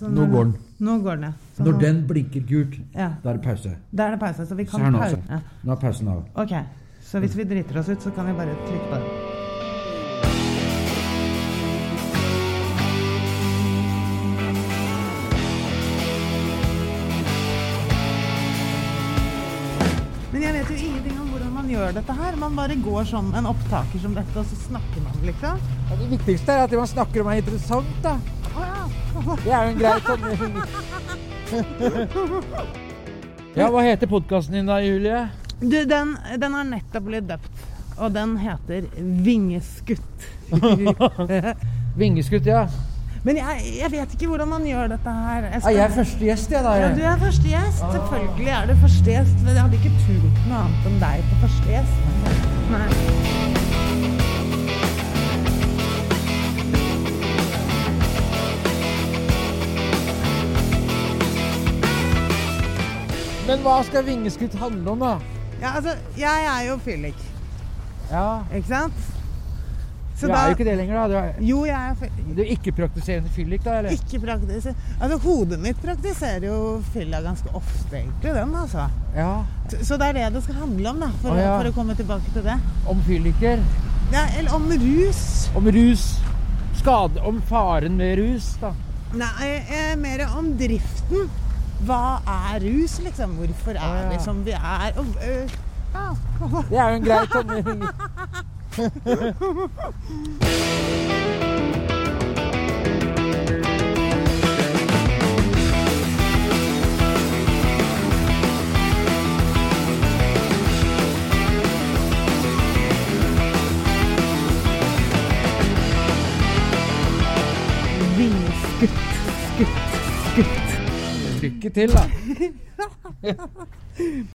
Så Nå går den. Nå går den, Sånn ja. Så Når nå- den blinker gult, Ja. da er det pause. Da er det pause, så vi Så her kan nå, pause. så. Ja. Nå er pausen av. Ok, så hvis vi driter oss ut, så kan vi bare trykke på den. Men jeg vet jo ingenting om hvordan man gjør dette her. Man bare går sånn en opptaker som dette, og så snakker man, liksom. Ja, det viktigste er at man snakker om er interessant, da. Å ja. Det er jo en grei sånn Ja, hva heter podkasten din da, Julie? Du, den, den har nettopp blitt døpt, og den heter Vingeskutt. Vingeskutt, ja. Men jeg, jeg vet ikke hvordan man gjør dette her. ja. Jeg er første gjest, jeg, da. Ja, du er første gjest. Selvfølgelig er du første gjest. Men jeg hadde ikke turt noe annet enn deg på første gjest. Nei. Men hva skal Vingeskutt handle om, da? Ja, altså, jeg er jo fyllik, Ja, ikke sant? Så Du da er jo ikke det lenger, da. Du er, Jo, jeg er fyllik. du er ikke-praktiserende fyllik, da? eller? Ikke praktiser. Altså, hodet mitt praktiserer jo fylla ganske ofte, egentlig, den, altså. Ja. Så- Så det er det det skal handle om, da, for, Å, ja. for å komme tilbake til det. Om fylliker. Ja, eller om rus. Om rus. Skade Om faren med rus, da. Nei, eh, mer om driften. Hva er rus, liksom? Hvorfor er Å, ja. vi som vi er? Og, eh, ja. Det er jo en grei sånn Vingeskutt, skutt, skutt. Lykke til, da.